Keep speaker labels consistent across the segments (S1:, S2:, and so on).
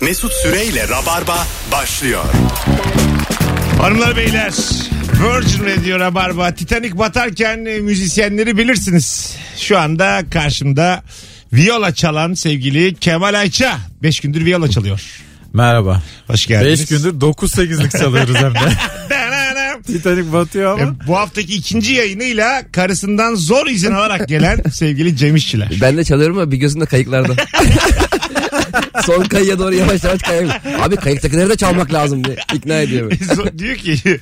S1: Mesut Süreyle Rabarba başlıyor.
S2: Hanımlar beyler Virgin Radio Rabarba Titanic batarken e, müzisyenleri bilirsiniz. Şu anda karşımda viola çalan sevgili Kemal Ayça. 5 gündür viola çalıyor.
S3: Merhaba.
S2: Hoş geldiniz.
S3: 5 gündür 9-8'lik çalıyoruz hem de.
S2: Dananam.
S3: Titanic batıyor ama.
S2: E, bu haftaki ikinci yayınıyla karısından zor izin alarak gelen sevgili Cem İşçiler.
S4: Ben de çalıyorum ama bir gözümde kayıklarda. Son kayıya doğru yavaş yavaş kayıyorum. Abi kayıktakileri de çalmak lazım diye ikna ediyor beni.
S2: So- diyor ki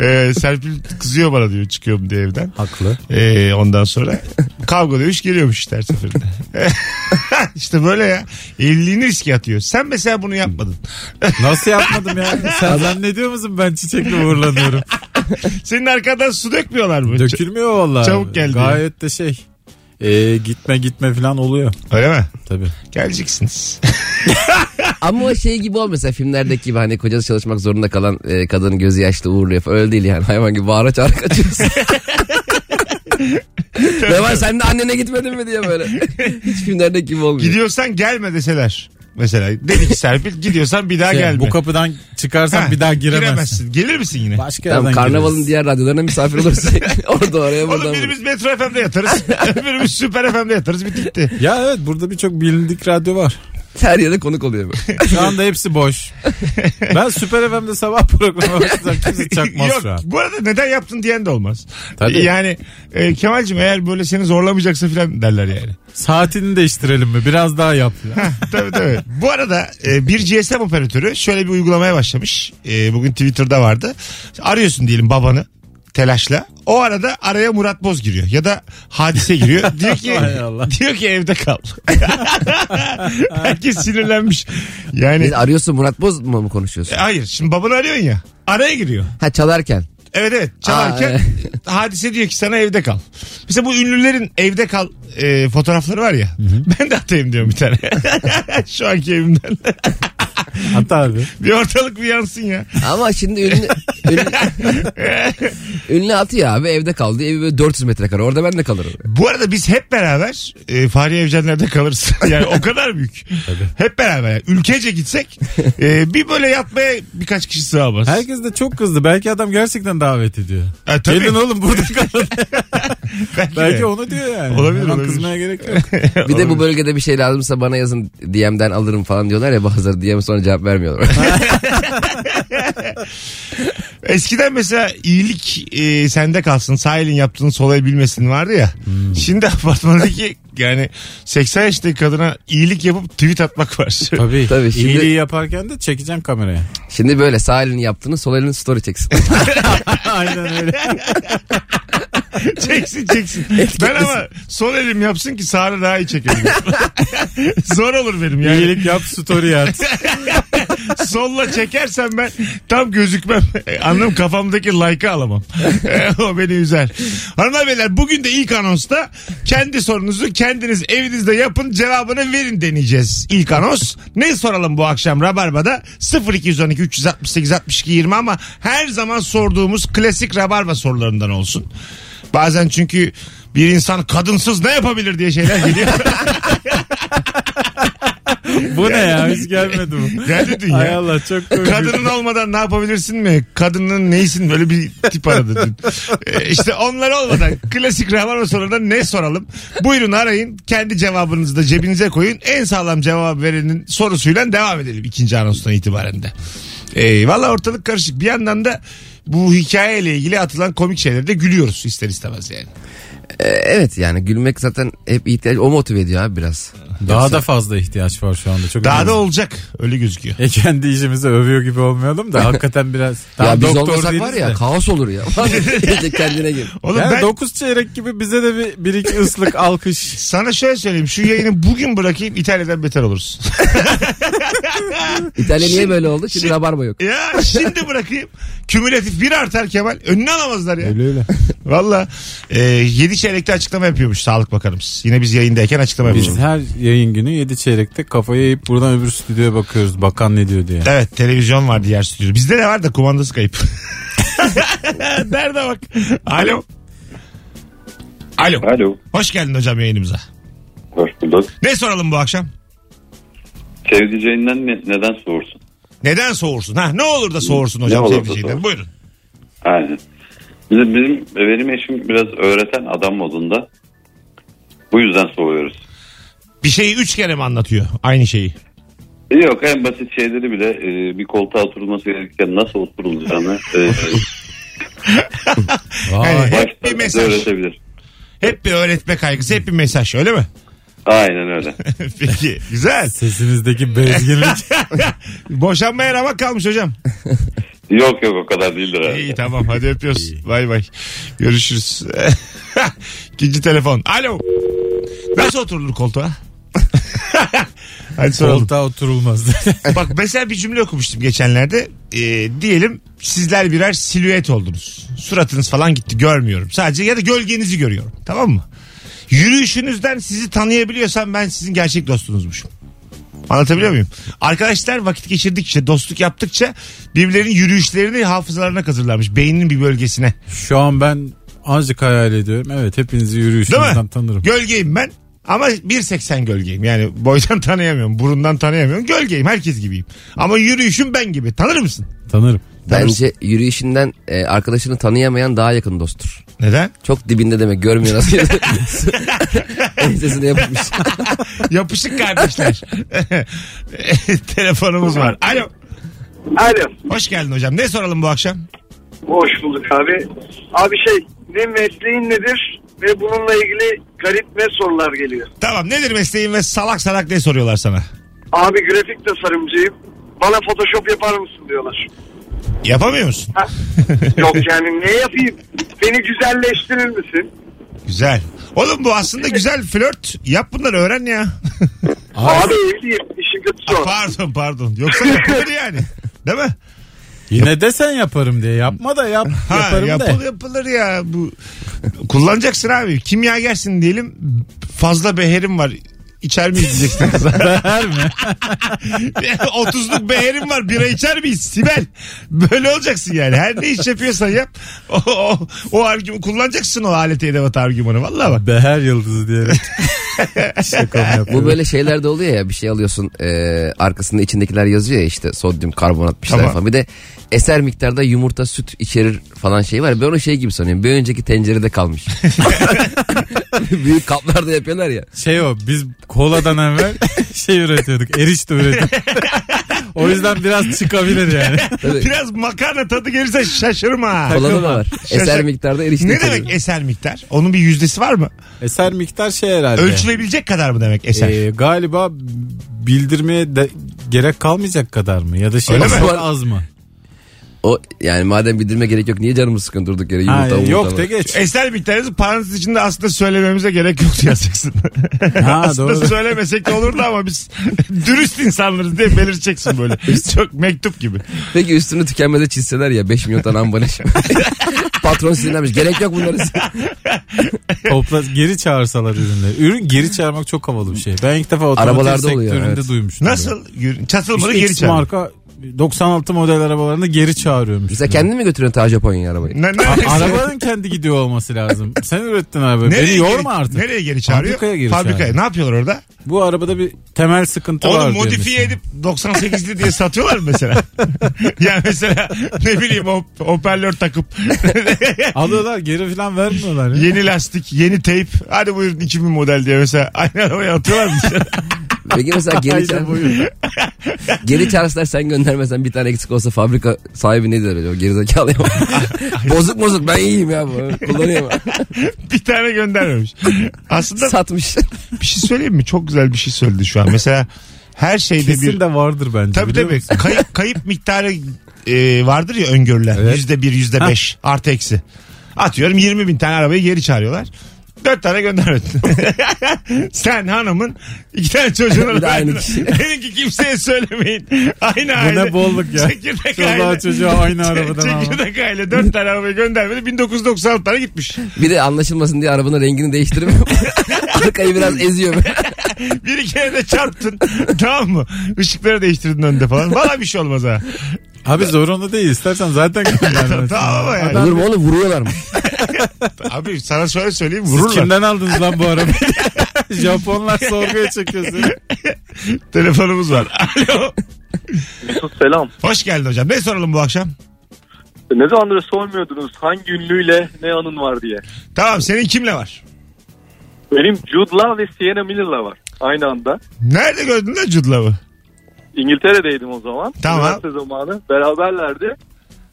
S2: e, Serpil kızıyor bana diyor çıkıyorum diye evden.
S3: Haklı.
S2: E, ondan sonra kavga dövüş geliyormuş işte her seferinde. işte böyle ya. Evliliğini riske atıyor. Sen mesela bunu yapmadın.
S3: Nasıl yapmadım ya? Sen zannediyor musun ben çiçekle uğurlanıyorum?
S2: Senin arkadan su dökmüyorlar mı? Ç-
S3: Dökülmüyor vallahi.
S2: Çabuk geldi.
S3: Gayet de şey. Ee, gitme gitme falan oluyor.
S2: Öyle mi?
S3: Tabii.
S2: Geleceksiniz.
S4: Ama o şey gibi olmasa filmlerdeki gibi hani kocası çalışmak zorunda kalan e, kadının gözü yaşlı uğurluyor falan. Öyle değil yani hayvan gibi bağıra çağıra kaçıyorsun. ne var sen de annene gitmedin mi diye böyle. Hiç filmlerdeki gibi olmuyor.
S2: Gidiyorsan gelme deseler. Mesela dedi ki Serpil gidiyorsan bir daha
S3: Şey,
S2: gelme.
S3: bu kapıdan çıkarsan
S2: Ha,
S3: bir daha giremezsin.
S2: Gelir misin yine?
S3: Başka
S4: Tamam
S3: yerden
S4: karnavalın
S3: gireriz.
S4: diğer radyolarına misafir olursun. Orada oraya buradan.
S2: Oğlum
S4: buraya.
S2: birimiz Metro FM'de yatarız. öbürümüz Süper FM'de yatarız. Bitti.
S3: Ya evet burada birçok bilindik radyo var.
S4: Her yere konuk oluyor. böyle.
S3: Şu anda hepsi boş. ben Süper FM'de sabah programı başlayacağım. Kimse çakmaz
S2: Yok,
S3: şu an.
S2: Bu arada neden yaptın diyen de olmaz.
S3: Tabii.
S2: Yani e, Kemal'cim eğer böyle seni zorlamayacaksa filan derler yani.
S3: Saatini değiştirelim mi? Biraz daha yap. ya.
S2: tabii tabii. Bu arada e, bir GSM operatörü şöyle bir uygulamaya başlamış. E, bugün Twitter'da vardı. Arıyorsun diyelim babanı telaşla. O arada araya Murat Boz giriyor ya da hadise giriyor. Diyor ki
S3: Hay Allah.
S2: diyor ki evde kal. Herkes sinirlenmiş. Yani
S4: Ne, Arıyorsun Murat Boz mu mu konuşuyorsun?
S2: hayır şimdi babanı arıyorsun ya. Araya giriyor.
S4: Ha çalarken.
S2: Evet evet çalarken
S4: Aa, evet.
S2: hadise diyor ki sana evde kal. Mesela bu ünlülerin evde kal e, fotoğrafları var ya. Ben de atayım diyorum bir tane. Şu anki evimden.
S3: Hatta abi.
S2: Bir ortalık bir yansın ya.
S4: Ama şimdi ünlü, ünlü, ünlü atıyor abi evde kaldı. Evi böyle 400 metrekare. Orada ben de kalırım.
S2: Bu arada biz hep beraber e, Fahriye Evcenler'de kalırız. Yani o kadar büyük. Hep beraber. yani. Ülkece gitsek e, bir böyle yatmaya birkaç kişi sığamaz.
S3: Herkes de çok kızdı. Belki adam gerçekten davet ediyor.
S2: E, tabii.
S3: Gelin oğlum burada kalın.
S2: Belki,
S3: Belki
S2: de.
S3: onu diyor yani.
S2: Olabilir,
S3: Hemen
S2: olabilir.
S3: kızmaya gerek yok.
S4: Bir de bu bölgede bir şey lazımsa bana yazın DM'den alırım falan diyorlar ya bazıları DM sonra cevap vermiyorlar.
S2: Eskiden mesela iyilik e, sende kalsın sahilin yaptığını solayı bilmesin vardı ya.
S3: Hmm.
S2: Şimdi apartmandaki yani 80 yaşındaki kadına iyilik yapıp tweet atmak var.
S3: Tabii.
S4: Tabii, şimdi-
S3: İyiliği yaparken de çekeceğim kameraya.
S4: şimdi böyle sağ elini yaptığını sol elini story çeksin.
S3: Aynen öyle.
S2: çeksin çeksin. ben ama sol elim yapsın ki sağa daha iyi çekelim. Zor olur benim yani.
S3: İyilik yap story at.
S2: Solla çekersem ben tam gözükmem. Anladım kafamdaki like'ı alamam. E, o beni üzer. Hanımlar beyler bugün de ilk anonsta kendi sorunuzu kendiniz evinizde yapın cevabını verin deneyeceğiz. İlk anons ne soralım bu akşam Rabarba'da 0212 368 62 20 ama her zaman sorduğumuz klasik Rabarba sorularından olsun. Bazen çünkü bir insan kadınsız ne yapabilir diye şeyler geliyor.
S3: Bu ne ya? Hiç gelmedi bu.
S2: Geldi dün
S3: Ay
S2: ya.
S3: Allah çok komik.
S2: Kadının olmadan ne yapabilirsin mi? Kadının neysin böyle bir tip aradı dün. E, işte onlar olmadan klasik Rabarba sorularında ne soralım? Buyurun arayın kendi cevabınızı da cebinize koyun. En sağlam cevap verenin sorusuyla devam edelim ikinci anonstan itibaren de. Ee, Valla ortalık karışık. Bir yandan da bu hikayeyle ilgili atılan komik şeylere de gülüyoruz ister istemez yani.
S4: Ee, evet yani gülmek zaten hep ihtiyaç o motive ediyor abi biraz.
S3: Daha da fazla ihtiyaç var şu anda. Çok
S2: Daha da
S3: önemli.
S2: olacak öyle gözüküyor.
S3: E kendi işimizi övüyor gibi olmayalım da hakikaten biraz. Tamam,
S4: ya biz
S3: doktor
S4: olmasak
S3: değiliz
S4: var ya
S3: de.
S4: kaos olur ya. Gece kendine gel.
S2: Oğlum
S3: Yani
S2: ben
S3: dokuz çeyrek gibi bize de bir, bir iki ıslık alkış.
S2: sana şöyle söyleyeyim şu yayını bugün bırakayım İtalya'dan beter oluruz.
S4: İtalya niye böyle oldu? Şimdi rabarba yok.
S2: Ya şimdi bırakayım. Kümülatif bir artar Kemal. Önünü alamazlar ya.
S3: Öyle öyle.
S2: Valla. E, 7 çeyrekte açıklama yapıyormuş Sağlık Bakanımız. Yine biz yayındayken açıklama
S3: Biz
S2: yapıyoruz.
S3: her yayın günü yedi çeyrekte kafayı eğip buradan öbür stüdyoya bakıyoruz. Bakan ne diyor diye.
S2: Evet televizyon var diğer stüdyoda. Bizde de var da kumandası kayıp. Nerede bak. Alo. Alo.
S5: Alo.
S2: Hoş geldin hocam yayınımıza.
S5: Hoş bulduk.
S2: Ne soralım bu akşam?
S5: Sevdiceğinden ne- neden soğursun?
S2: Neden soğursun? Ha, ne olur da soğursun hocam
S5: Ne olur da
S2: sevdiceğinden.
S5: soğursun.
S2: Buyurun.
S5: Aynen. Bizim, bizim benim eşim biraz öğreten adam modunda. Bu yüzden soğuyoruz.
S2: Bir şeyi üç kere mi anlatıyor? Aynı şeyi.
S5: Yok en basit şeyleri bile e, bir koltuğa oturulması gerekirken nasıl oturulacağını e, e,
S2: Yani hep bir
S5: baştan bize
S2: mesaj.
S5: öğretebilir.
S2: Hep bir öğretme kaygısı. Hep bir mesaj. Öyle mi?
S5: Aynen öyle.
S2: Peki. Güzel.
S3: Sesinizdeki bezginlik.
S2: Boşanmaya ramak kalmış hocam.
S5: yok yok o kadar değildir
S2: İyi
S5: abi.
S2: tamam hadi öpüyoruz. Bay bay. Görüşürüz. İkinci telefon. Alo. Nasıl oturulur koltuğa? hadi soralım.
S3: Koltuğa oturulmaz.
S2: Bak mesela bir cümle okumuştum geçenlerde. Ee, diyelim sizler birer silüet oldunuz. Suratınız falan gitti görmüyorum. Sadece ya da gölgenizi görüyorum. Tamam mı? Yürüyüşünüzden sizi tanıyabiliyorsam ben sizin gerçek dostunuzmuşum. Anlatabiliyor muyum? Arkadaşlar vakit geçirdikçe, dostluk yaptıkça birbirlerinin yürüyüşlerini hafızalarına kazırlarmış. Beyninin bir bölgesine.
S3: Şu an ben azıcık hayal ediyorum. Evet hepinizi
S2: Değil mi?
S3: yürüyüşünüzden tanırım.
S2: Gölgeyim ben ama 1.80 gölgeyim. Yani boydan tanıyamıyorum, burundan tanıyamıyorum. Gölgeyim, herkes gibiyim. Ama yürüyüşüm ben gibi. Tanır mısın?
S3: Tanırım.
S4: Bence yürüyüşünden e, arkadaşını tanıyamayan daha yakın dosttur.
S2: Neden?
S4: Çok dibinde demek görmüyor nasıl. Ensesine yapışmış.
S2: Yapışık kardeşler. Telefonumuz var. Alo.
S6: Alo.
S2: Hoş geldin hocam. Ne soralım bu akşam?
S6: Hoş bulduk abi. Abi şey ne mesleğin nedir ve bununla ilgili garip ne sorular geliyor.
S2: Tamam nedir mesleğin ve salak salak ne soruyorlar sana?
S6: Abi grafik tasarımcıyım. Bana photoshop yapar mısın diyorlar.
S2: Yapamıyor musun?
S6: Ha? Yok yani ne yapayım? Beni güzelleştirir misin?
S2: Güzel. Oğlum bu aslında güzel flört. Yap bunları öğren ya.
S6: Abi evliyim. İşin kötüsü o.
S2: pardon pardon. Yoksa yapılır yani. Değil mi?
S3: Yine de sen yaparım diye. Yapma da yap.
S2: Ha,
S3: yaparım
S2: yapıl,
S3: de.
S2: yapılır ya bu. Kullanacaksın abi. Kimya gelsin diyelim. Fazla beherim var. İçer miyiz diyeceksin kıza.
S3: Değer mi?
S2: 30'luk beherim var bira içer miyiz Sibel? Böyle olacaksın yani. Her ne iş yapıyorsan yap. O, o, o argüman kullanacaksın o alet edevat argümanı. Vallahi bak.
S3: Beher yıldızı diyerek. Şakamı yapıyorum.
S4: Bu böyle şeyler de oluyor ya bir şey alıyorsun e, arkasında içindekiler yazıyor ya işte sodyum karbonat bir şeyler
S2: Tamam.
S4: falan. Bir de eser miktarda yumurta süt içerir falan şey var. ya, Ben onu şey gibi sanıyorum. Bir önceki tencerede kalmış. Büyük kaplarda yapıyorlar ya.
S3: Şey o biz koladan evvel şey üretiyorduk. Erişte üretiyorduk. o yüzden biraz çıkabilir yani.
S4: Tabii,
S2: Biraz makarna tadı gelirse şaşırma.
S4: kolanı da var. Eser
S2: Şaşır-
S4: miktarda erişte
S2: Ne
S4: içeriyor.
S2: demek eser miktar? Onun bir yüzdesi var mı?
S3: Eser miktar şey herhalde.
S2: Ölçülebilecek kadar mı demek eser?
S3: Ee, galiba bildirmeye de gerek kalmayacak kadar mı? Ya da şey
S2: Öyle mi?
S3: az, az mı?
S4: O yani madem bildirme gerek yok niye canımı sıkın durduk yere
S3: Ha,
S4: yumurta yumurta
S3: yok
S4: var.
S3: de geç.
S2: Eser miktarınızı parantez içinde aslında söylememize gerek yoktu yazacaksın.
S3: Ha,
S2: aslında
S3: doğru.
S2: söylemesek de olurdu ama biz dürüst insanlarız diye belirteceksin böyle. Çok mektup gibi.
S4: Peki üstünü tükenmeze çizseler ya 5 milyon tane ambalaj. Patron sinirlenmiş. Gerek yok bunları.
S3: Topla, geri çağırsalar ürünleri. Ürün geri çağırmak çok havalı bir şey. Ben ilk defa otomotiv
S4: Arabalarda
S3: sektöründe
S4: oluyor, evet.
S3: duymuştum. böyle.
S2: Nasıl? Yürü- Çatılmalı
S3: İşte
S2: geri
S3: X
S2: çağır.
S3: marka 96 model arabalarını geri çağırıyormuş.
S4: Mesela
S3: Böyle.
S4: kendin mi götürüyorsun ta Japonya'ya arabayı?
S2: Ne, ne,
S3: A- Arabanın kendi gidiyor olması lazım. Sen ürettin arabayı. Beni
S2: geri,
S3: yorma artık.
S2: Nereye geri çağırıyor?
S3: Fabrikaya geri
S2: Fabrikaya.
S3: çağırıyor.
S2: Ne yapıyorlar orada?
S3: Bu arabada bir temel sıkıntı var.
S2: Onu
S3: diyor
S2: modifiye
S3: mesela.
S2: edip 98'li diye satıyorlar mı mesela? yani mesela ne bileyim o hoparlör takıp
S3: Alıyorlar geri falan vermiyorlar. ya.
S2: yeni lastik, yeni teyp. Hadi buyurun 2000 model diye mesela aynı arabaya atıyorlar mı?
S4: Peki mesela geri, çağır, geri çağırsalar sen göndermesen bir tane eksik olsa fabrika sahibi ne der acaba? Geri zekalı Bozuk bozuk ben iyiyim ya bu. Kullanıyorum.
S2: bir tane göndermemiş. Aslında
S4: Satmış.
S2: bir şey söyleyeyim mi? Çok güzel bir şey söyledi şu an. Mesela her şeyde bir
S3: Kesin de vardır bence.
S2: Tabii
S3: biliyor
S2: tabii.
S3: musun?
S2: Kayıp, kayıp miktarı e, vardır ya öngörülen.
S3: Evet.
S2: Yüzde bir, yüzde beş. Artı eksi. Atıyorum 20 bin tane arabayı geri çağırıyorlar. Dört tane gönderdin. Sen hanımın iki tane çocuğuna
S4: Bir de aynı
S2: verdin.
S4: kişi.
S2: Dedin ki kimseye söylemeyin. Aynı
S3: Bu
S2: aile.
S3: ne bolluk ya.
S2: Çekirdek
S3: Çoluğa
S2: aile.
S3: çocuğa aynı arabadan alma.
S2: Çekirdek aile dört tane arabayı göndermedi. 1996 tane gitmiş.
S4: Bir de anlaşılmasın diye arabanın rengini değiştirmiyor. Arkayı biraz eziyor.
S2: Bir iki kere de çarptın. tamam mı? Işıkları değiştirdin önde falan. Valla bir şey olmaz ha.
S3: Abi zorunda değil. İstersen zaten göndermez.
S2: Tamam ama yani.
S4: Olur mu oğlum vuruyorlar mı?
S2: Abi sana şöyle söyleyeyim
S3: Siz
S2: vururlar.
S3: kimden aldınız lan bu arabayı? Japonlar sorguya çekiyor seni.
S2: Telefonumuz var. Alo.
S7: Mesut selam.
S2: Hoş geldin hocam. Ne soralım bu akşam?
S7: Ne zamandır sormuyordunuz hangi ünlüyle ne anın var diye.
S2: Tamam senin kimle var?
S7: Benim Jude Law ve Sienna Miller'la var aynı anda.
S2: Nerede gördün lan Cudlav'ı?
S7: İngiltere'deydim o zaman.
S2: Tamam.
S7: Üniversite zamanı. Beraberlerdi.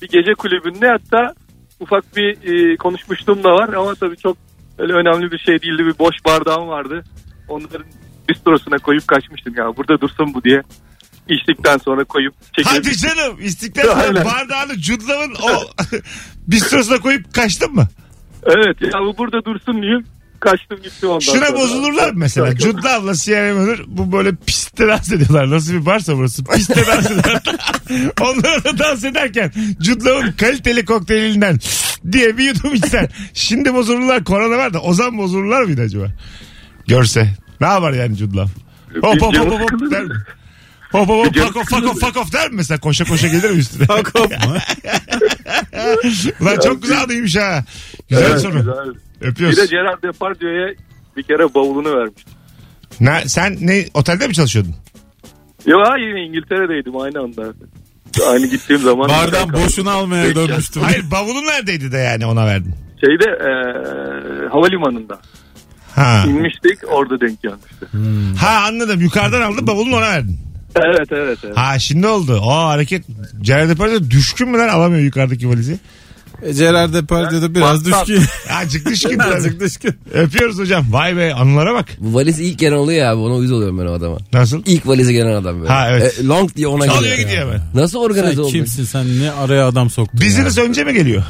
S7: Bir gece kulübünde hatta ufak bir e, konuşmuşluğum da var ama tabii çok öyle önemli bir şey değildi. Bir boş bardağım vardı. Onların bistrosuna koyup kaçmıştım ya. Burada dursun bu diye. İçtikten sonra koyup çekilip
S2: Hadi canım istiklal Parkı
S7: Aynen.
S2: bardağını Cudlav'ın o bistrosuna koyup kaçtın mı?
S7: Evet ya bu burada dursun diyeyim. Kaçtım gittim ondan
S2: Şuna
S7: sonra.
S2: bozulurlar mı mesela?
S7: Çok-
S2: Cudlav'la Sierra Miller bu böyle pistte dans ediyorlar. Nasıl bir barsa burası? Pistte dans ediyorlar. Onlara da dans ederken Cudlav'ın kaliteli kokteylinden diye bir yudum içsen. Şimdi bozulurlar. Korona var da Ozan bozulurlar mıydı acaba? Görse. Ne yapar yani Cudlav? Hop hop hop hop hop der mi? Hop hop hop fuck off fuck off fuck off der mi mesela? Koşa koşa gelir mi üstüne?
S3: Bak hopma.
S2: Ulan çok güzel adıymış ha. Güzel
S7: Evet,
S2: soru.
S7: güzel. Bir
S2: Öpüyoruz.
S7: de Gerard Depardieu'ya bir kere bavulunu vermiş.
S2: Ne- sen ne otelde mi çalışıyordun?
S7: Yok hayır İngiltere'deydim aynı anda. Aynı gittiğim zaman.
S3: Bardan boşuna almaya dönmüştüm.
S2: Hayır bavulun neredeydi de yani ona verdin?
S7: Şeyde eee, havalimanında.
S2: Ha.
S7: İnmiştik orada denk gelmişti.
S2: ha anladım yukarıdan aldın bavulun ona verdin.
S7: Evet evet. evet.
S2: Ha şimdi oldu. O hareket Jared Depardieu düşkün mü lan alamıyor yukarıdaki valizi.
S3: E, Gerard Depardieu'da biraz düşkün.
S2: Azıcık düşkün.
S3: Birazcık düşkün.
S2: Öpüyoruz hocam. Vay be anılara bak.
S4: Bu valiz ilk gelen oluyor ya abi ona uyuz oluyorum ben o adama.
S2: Nasıl?
S4: İlk valizi gelen adam böyle.
S2: Ha, evet.
S4: E, long diye ona
S2: Çalıyor
S4: geliyor.
S2: gidiyor hemen.
S4: Nasıl
S3: Sen
S4: organize oldu?
S3: kimsin sen ne araya adam soktun
S2: Biziniz önce mi geliyor?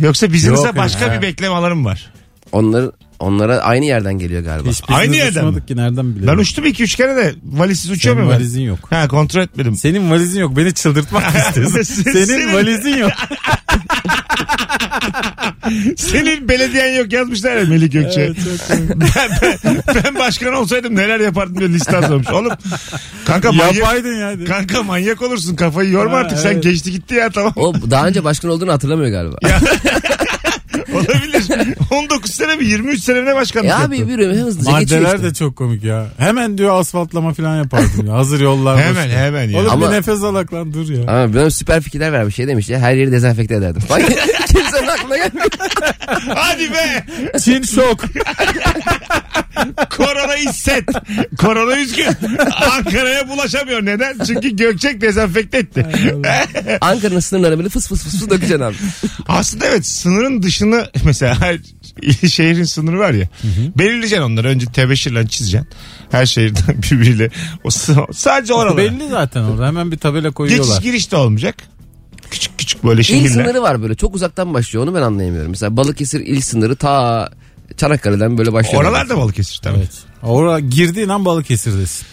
S2: Yoksa
S3: Yok
S2: bizinize
S3: ya.
S2: başka bir beklemelarım var.
S4: Onlar, onlara aynı yerden geliyor galiba.
S3: ya? Hiç biziniz
S2: Aynı yerden
S3: uçmadık ki nereden bilelim.
S2: Ben uçtum 2-3 kere de valizsiz
S3: Senin
S2: uçuyorum ben.
S3: valizin yok.
S2: Ha kontrol etmedim.
S3: Senin valizin yok beni çıldırtmak istiyorsun.
S2: Senin-
S3: senin, valizin yok.
S2: Senin belediyen yok yazmışlar ya Melih Gökçe. ben, ben, ben başkan olsaydım neler yapardım diye liste hazırlamış. Oğlum kanka manyak,
S3: Yapaydın yani.
S2: kanka manyak olursun kafayı yorma
S3: Ha,
S2: artık sen
S3: evet.
S2: geçti gitti ya tamam.
S4: O daha önce başkan olduğunu hatırlamıyor galiba.
S2: Olabilir. 19 sene mi 23 sene mi ne başkanlık
S4: Ya
S2: yaptın?
S4: abi bir hızlıca geçiyor
S3: Maddeler
S4: işte.
S3: de çok komik ya. Hemen diyor asfaltlama falan yapardım ya. Hazır yollar.
S2: Hemen,
S3: boşken.
S2: hemen ya.
S3: Oğlum
S4: Ama-
S3: bir nefes alak lan dur ya.
S4: Ama benim süper fikirler vermiş şey demiş ya her yeri dezenfekte ederdim. Bak kimsenin aklına gelmiyor.
S2: Hadi be.
S3: Çin şok.
S2: Korona hisset. Korona üzgün. Ankara'ya bulaşamıyor. Neden? Çünkü Gökçek dezenfekte etti.
S4: Ankara'nın sınırlarına böyle fıs fıs fıs fıs dökeceksin abi.
S2: Aslında evet sınırın dışını mesela her şehrin sınırı var ya. Belirleyeceksin onları. Önce tebeşirle çizeceksin. Her şehirden birbiriyle. O, s- sadece oralara.
S3: Belli zaten orada. Hemen bir tabela
S2: Geçiş
S3: koyuyorlar.
S2: giriş de olmayacak. Küçük küçük böyle
S4: İl
S2: şehirler.
S4: sınırı var böyle çok uzaktan başlıyor onu ben anlayamıyorum. Mesela Balıkesir il sınırı ta Çanakkale'den böyle başlıyor.
S2: Oralar da Balıkesir tabii. Evet.
S3: Evet. Orada girdiğin an Balıkesir'desin.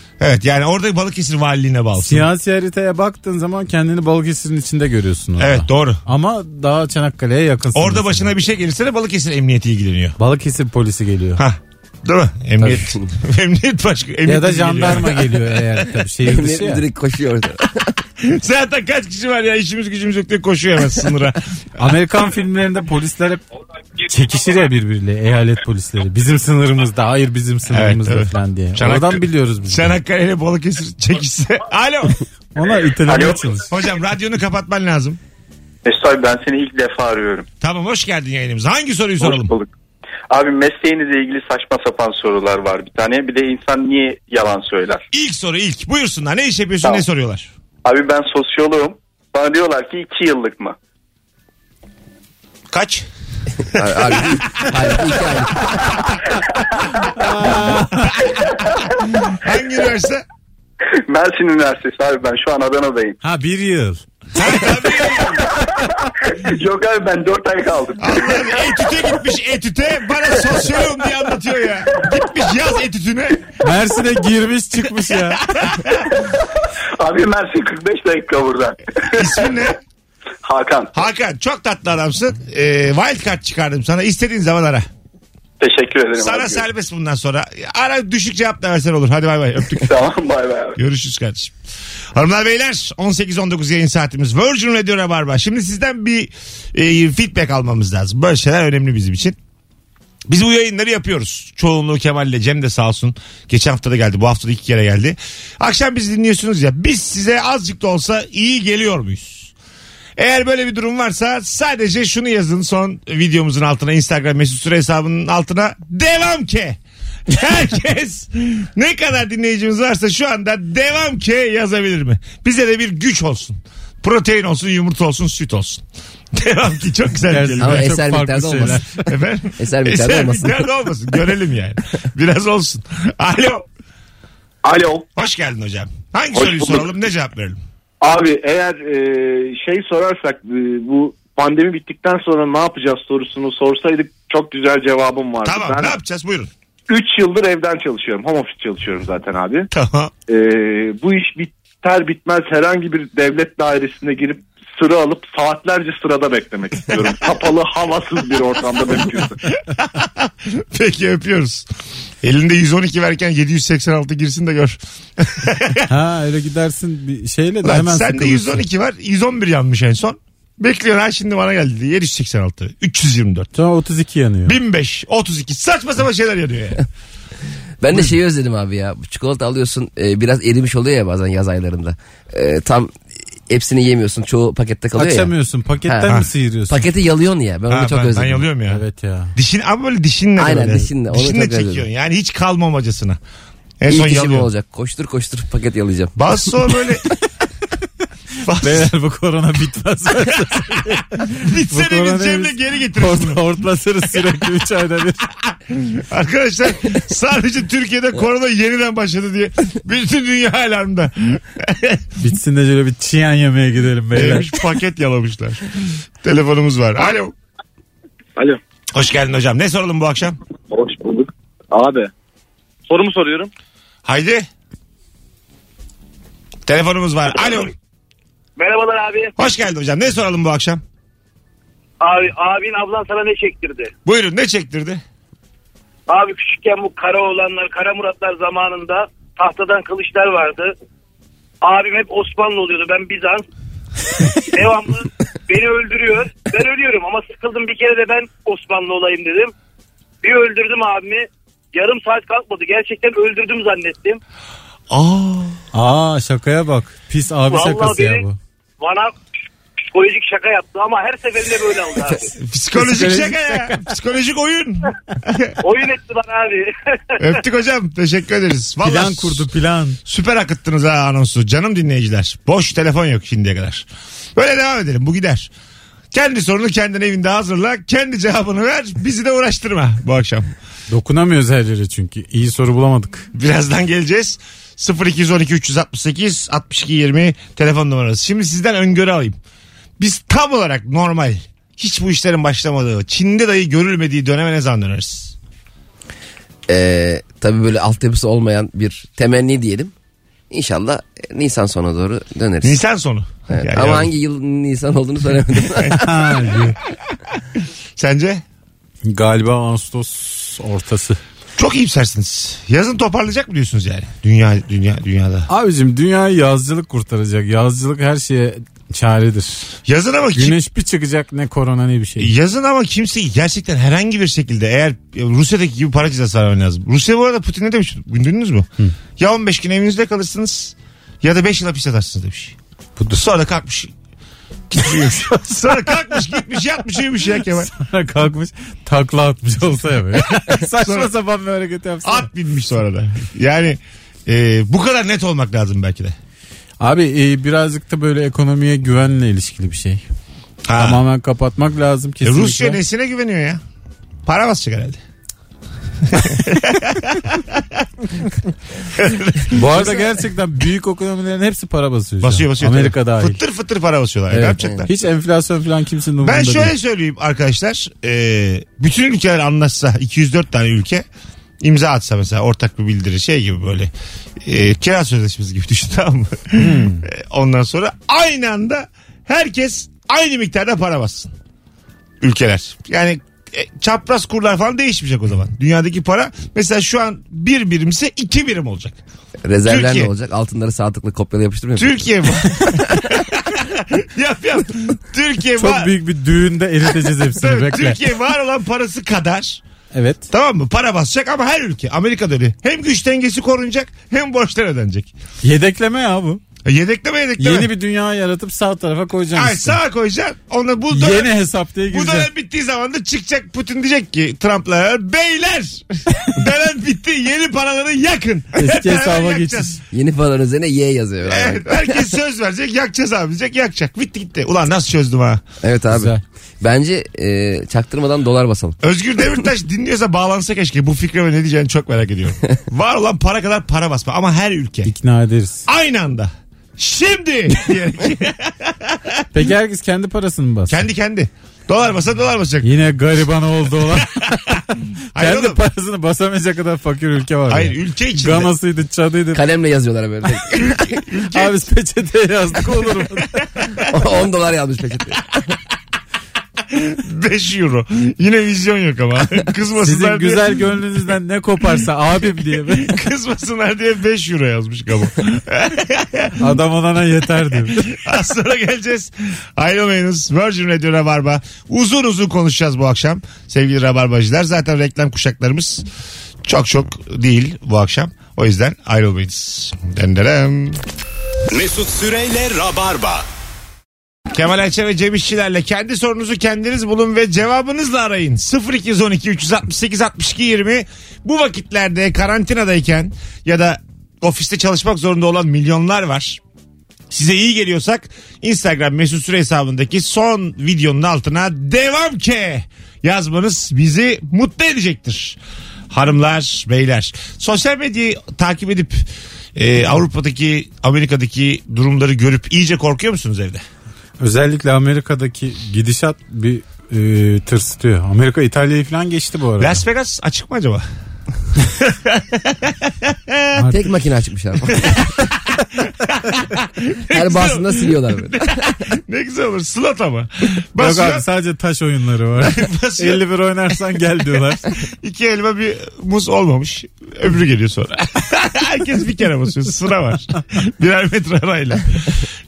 S2: yani orada Balıkesir valiliğine bağlısın.
S3: Siyasi haritaya baktığın zaman kendini Balıkesir'in içinde görüyorsun orada.
S2: Evet doğru.
S3: Ama daha Çanakkale'ye yakınsın.
S2: Orada
S3: mesela.
S2: başına bir şey gelirse de Balıkesir Emniyeti ilgileniyor.
S3: Balıkesir polisi geliyor.
S2: Ha. Değil mi? Emniyet. emniyet başka. Emniyet
S3: ya da
S2: ilgileniyor.
S3: jandarma geliyor eğer tabii şehir
S4: Emniyet
S3: dışı ya.
S4: müdürü koşuyor orada.
S2: Zaten kaç kişi var ya işimiz gücümüz yok diye koşuyor hemen sınıra.
S3: Amerikan filmlerinde polisler hep çekişir ya birbiriyle eyalet polisleri. Bizim sınırımızda hayır bizim sınırımızda
S2: Evet, evet.
S3: falan diye.
S2: Çanakkale-
S3: Oradan biliyoruz biz.
S2: Çanakkale ile Balıkesir çekişse. Alo.
S3: Ona itelemeye
S7: Alo.
S3: çalış.
S2: Hocam radyonu kapatman lazım.
S7: Mesut abi ben seni ilk defa arıyorum.
S2: Tamam hoş geldin yayınımıza. Hangi soruyu soralım?
S7: Hoş bulduk. Abi mesleğinizle ilgili saçma sapan sorular var bir tane. Bir de insan niye yalan söyler?
S2: İlk soru ilk. Buyursunlar. Ne iş yapıyorsun
S7: Tamam.
S2: ne soruyorlar?
S7: Abi ben sosyoloğum. Bana diyorlar ki iki yıllık mı?
S2: Kaç?
S4: Abi, abi, iki ay.
S2: Hangi üniversite?
S7: Mersin Üniversitesi abi ben şu an Adana'dayım.
S3: Ha bir yıl.
S7: Yok abi ben dört ay kaldım.
S2: Allah'ım etüte gitmiş etüte. Bana sosyoloğum diye anlatıyor ya. Gitmiş yaz etütüne.
S3: Mersin'e girmiş çıkmış ya.
S7: abi Mersin 45 dakika buradan.
S2: İsmin ne?
S7: Hakan
S2: Hakan çok tatlı adamsın. Ee, wildcard çıkardım sana. İstediğin zaman ara.
S7: teşekkür ederim.
S2: Sana
S7: abi.
S2: serbest bundan sonra. Ara düşük cevap da versen olur. Hadi bay bay öptük.
S7: Tamam bay bay abi.
S2: Görüşürüz kardeşim. Hanımlar beyler 18-19 yayın saatimiz Virgin Radio Rabarba. Şimdi sizden bir e, feedback almamız lazım. Böyle şeyler önemli bizim için. Biz bu yayınları yapıyoruz. Çoğunluğu Kemal'le Cem de sağ olsun. Geçen hafta da geldi. Bu hafta da iki kere geldi. Akşam bizi dinliyorsunuz ya. Biz size azıcık da olsa iyi geliyor muyuz? Eğer böyle bir durum varsa sadece şunu yazın son videomuzun altına Instagram mesut süre hesabının altına devam ke. Herkes ne kadar dinleyicimiz varsa şu anda devam ke yazabilir mi? Bize de bir güç olsun. Protein olsun, yumurta olsun, süt olsun. Devam ki çok güzel bir kelime.
S4: Ama
S3: çok
S4: eser
S3: farklı
S4: miktarda
S3: şeyler.
S4: olmasın.
S2: Efendim?
S4: Eser miktarda olmasın.
S2: miktarda olmasın. Görelim yani. Biraz olsun. Alo.
S6: Alo.
S2: Hoş geldin hocam. Hangi
S6: Hoş
S2: soruyu
S6: bulduk.
S2: soralım ne cevap verelim?
S6: Abi eğer e, şey sorarsak e, bu pandemi bittikten sonra ne yapacağız sorusunu sorsaydık çok güzel cevabım vardı.
S2: Tamam ne
S6: ben
S2: yapacağız buyurun.
S6: 3 yıldır evden çalışıyorum. Home office çalışıyorum zaten abi.
S2: Tamam.
S6: E, bu iş biter bitmez herhangi bir devlet dairesine girip sıra alıp saatlerce sırada beklemek istiyorum. Kapalı havasız bir ortamda mümkünse.
S2: Peki öpüyoruz. Elinde 112 verken 786 girsin de gör.
S3: Ha öyle gidersin bir şeyle de
S2: Lan
S3: hemen
S2: sen de
S3: sıkılırsın.
S2: 112 var. 111 yanmış en son. Bekliyor ha şimdi bana geldi diye. 786. 324.
S3: Sonra 32 yanıyor.
S2: 1005, 32 saçma sapan şeyler yanıyor yani.
S4: Ben de şeyi özledim abi ya. Çikolata alıyorsun e, biraz erimiş oluyor ya bazen yaz aylarında. E, tam hepsini yemiyorsun. Çoğu pakette kalıyor ya.
S3: Açamıyorsun. Paketten
S4: Ha.
S3: mi sıyırıyorsun?
S4: Paketi yalıyorsun ya. Ben onu
S2: Ha,
S4: çok
S2: ben, ben
S4: özledim.
S2: yalıyorum ya.
S3: Evet ya.
S2: Dişin, ama böyle dişinle.
S4: Aynen,
S2: böyle.
S4: dişinle. Onu
S2: Dişinle
S4: çok özledim.
S2: çekiyorsun. Yani hiç kalmamacasına. En son
S4: İlk işim
S2: yalıyor.
S4: olacak. Koştur koştur paket yalayacağım.
S2: Bazı sonra böyle... Bazı...
S3: Beyler bu korona bitmez.
S2: Bitse de
S3: korona
S2: biz Cem'le
S3: biz-
S2: geri getiririz bunu.
S3: Hort, hortlasırız sürekli 3 ayda bir.
S2: Arkadaşlar sadece Türkiye'de korona yeniden başladı diye bütün dünya alarmda.
S3: Bitsin de şöyle bir çiyan yemeye gidelim beyler.
S2: Neymiş paket yalamışlar. Telefonumuz var. Alo.
S7: Alo.
S2: Hoş geldin hocam. Ne soralım bu akşam?
S7: Hoş bulduk. Abi. Sorumu soruyorum.
S2: Haydi. Telefonumuz var. Alo.
S6: Merhabalar abi.
S2: Hoş geldin hocam. Ne soralım bu akşam?
S6: Abi abin ablan sana ne çektirdi?
S2: Buyurun ne çektirdi?
S6: Abi küçükken bu kara olanlar, kara muratlar zamanında tahtadan kılıçlar vardı. Abim hep Osmanlı oluyordu, ben Bizans. Devamlı beni öldürüyor. Ben ölüyorum ama sıkıldım bir kere de ben Osmanlı olayım dedim. Bir öldürdüm abimi. Yarım saat kalkmadı. Gerçekten öldürdüm zannettim.
S2: Aa.
S3: Aa şakaya bak. Pis abi
S6: Vallahi
S3: şakası ya
S6: beni-
S3: bu.
S6: Bana psikolojik şaka yaptı ama her seferinde böyle oldu abi.
S2: Psikolojik
S3: Psikolojik
S2: şaka ya. Psikolojik oyun.
S6: Oyun etti bana abi.
S2: Öptük hocam. Teşekkür ederiz. Vallahi
S3: Plan kurdu plan.
S2: Süper akıttınız ha anonsu. Canım dinleyiciler. Boş telefon yok şimdiye kadar. Böyle devam edelim. Bu gider. Kendi sorunu kendin evinde hazırla. Kendi cevabını ver. Bizi de uğraştırma bu akşam.
S3: Dokunamıyoruz her yere çünkü. İyi soru bulamadık.
S2: Birazdan geleceğiz. 0212 368 62 20 telefon numarası. Şimdi sizden öngörü alayım. Biz tam olarak normal hiç bu işlerin başlamadığı, Çin'de dahi görülmediği döneme ne zaman döneriz?
S4: Ee, tabii böyle altyapısı olmayan bir temenni diyelim. İnşallah e, Nisan sona doğru döneriz.
S2: Nisan sonu.
S4: Evet,
S2: Yani
S4: Ama
S2: yani.
S4: hangi yıl Nisan olduğunu söylemedim.
S2: Sence?
S3: Galiba Ağustos ortası.
S2: Çok iyimsersiniz. Yazın toparlayacak mı diyorsunuz yani? Dünya dünya dünyada.
S3: Abicim dünyayı yazcılık kurtaracak. Yazcılık her şeye çaredir.
S2: Yazın ama kim-
S3: Güneş bir çıkacak ne korona ne bir şey.
S2: Yazın ama kimse gerçekten herhangi bir şekilde eğer e, Rusya'daki gibi para cezası vermen lazım. Rusya bu arada Putin ne demiş? Gündünüz mü? Ya 15 gün evinizde kalırsınız ya da 5 yıl hapis yatarsınız demiş. Sonra kalkmış. gitmiş uyumuş. Sonra kalkmış gitmiş yatmış uyumuş ya Kemal.
S3: Sonra kalkmış takla atmış olsa ya böyle. Saçma sapan bir hareket yapsana.
S2: At binmiş sonra da. Yani e, bu kadar net olmak lazım belki de.
S3: Abi e, birazcık da böyle ekonomiye güvenle ilişkili bir şey.
S2: Ha.
S3: Tamamen kapatmak lazım
S2: E,
S3: kesinlikle.
S2: Rusya nesine güveniyor ya? Para basacak herhalde.
S3: Bu arada gerçekten büyük ekonomilerin hepsi para basıyor. şu an.
S2: Basıyor basıyor.
S3: Amerika dahil.
S2: Fıttır fıttır para basıyorlar. Ne
S3: Evet.
S2: yapacaklar?
S3: Hiç enflasyon falan kimsenin umurunda
S2: Ben şöyle
S3: değil.
S2: söyleyeyim arkadaşlar. Ee, bütün ülkeler anlaşsa 204 tane ülke imza atsa mesela ortak bir bildiri şey gibi böyle e, kira sözleşmesi gibi düşün tamam mı?
S3: Hmm.
S2: E, Ondan sonra aynı anda herkes aynı miktarda para bassın. Ülkeler. Yani e, çapraz kurlar falan değişmeyecek o zaman. Dünyadaki para mesela şu an bir birimse iki birim olacak.
S4: Rezervler
S2: Türkiye.
S4: ne olacak? Altınları saatlikle kopyala yapıştırmıyor musun?
S2: Türkiye yap yap. Türkiye
S3: Çok büyük bir düğünde eriteceğiz hepsini
S2: Tabii,
S3: bekle.
S2: Türkiye var olan parası kadar
S3: Evet.
S2: Tamam mı? Para basacak ama her ülke. Amerika'da öyle. Hem güç dengesi korunacak hem borçlar ödenecek.
S3: Yedekleme ya bu.
S2: E, Yedekleme yedekleme.
S3: Yeni bir dünya yaratıp sağ tarafa koyacaksın.
S2: Ay
S3: işte.
S2: sağa koyacaksın. Onunla bu dönem-
S3: Yeni hesap diye
S2: Bu
S3: gireceksin.
S2: dönem bittiği zaman da çıkacak Putin diyecek ki Trump'la beraber, beyler dönem bitti yeni paraları yakın. Hep
S3: Eski
S2: beraber
S3: hesaba
S2: yakacağız."
S3: geçiş.
S4: Yeni falan üzerine Y yazıyor.
S2: Evet,
S4: Evet,
S2: herkes söz verecek yakacağız abi diyecek yakacak. Bitti gitti. Ulan nasıl çözdüm ha.
S4: evet abi.
S3: Güzel.
S4: Bence e, çaktırmadan dolar basalım.
S2: Özgür Demirtaş dinliyorsa bağlansa keşke bu fikrime ne diyeceğini çok merak ediyorum. Var olan para kadar para basma ama her ülke.
S3: İkna ederiz.
S2: Aynı anda. Şimdi diyerek.
S3: Peki herkes kendi parasını mı bassın?
S2: kendi kendi. Dolar basa dolar basacak.
S3: Yine gariban oldu olan.
S2: Hayır
S3: kendi
S2: oğlum.
S3: parasını basamayacak kadar fakir ülke var.
S2: Hayır
S3: ya.
S2: ülke içinde.
S3: Ganasıydı, Çad'ıydı.
S4: Kalemle yazıyorlar böyle.
S3: Abi biz peçeteye yazdık olur mu?
S4: 10 dolar yazmış peçete.
S2: 5 euro. Yine vizyon yok ama. Kızmasınlar
S3: Sizin
S2: diye.
S3: güzel gönlünüzden ne koparsa abim diye be.
S2: Kızmasınlar diye 5 euro yazmış Gabo.
S3: adam olana yeter diyor.
S2: Az sonra geleceğiz. Ayrılmayınız. Virgin Radio Rabarba. Uzun uzun konuşacağız bu akşam. Sevgili Rabarbacılar. Zaten reklam kuşaklarımız çok çok değil bu akşam. O yüzden ayrılmayınız. Denderem.
S1: Mesut Süreyle Rabarba.
S2: Kemal Ayça ve Cem İşçilerle kendi sorunuzu kendiniz bulun ve cevabınızla arayın. 0212 368 62 20 bu vakitlerde karantinadayken ya da ofiste çalışmak zorunda olan milyonlar var. Size iyi geliyorsak Instagram mesut süre hesabındaki son videonun altına devam ki yazmanız bizi mutlu edecektir. Hanımlar, beyler. Sosyal medyayı takip edip e, Avrupa'daki, Amerika'daki durumları görüp iyice korkuyor musunuz evde?
S3: Özellikle Amerika'daki gidişat bir e, tırsıtıyor. Amerika İtalya'yı falan geçti bu arada.
S2: Las Vegas açık mı acaba?
S4: Tek makine açmış abi. Her basında siliyorlar böyle.
S2: ne güzel olur. Slot ama.
S3: Yok abi
S2: Basıyor,
S3: sadece taş oyunları var.
S2: basıyor.
S3: 51 oynarsan gel diyorlar.
S2: İki elma bir muz olmamış. Öbürü geliyor sonra. Herkes bir kere basıyor. Sıra var. Birer metre arayla.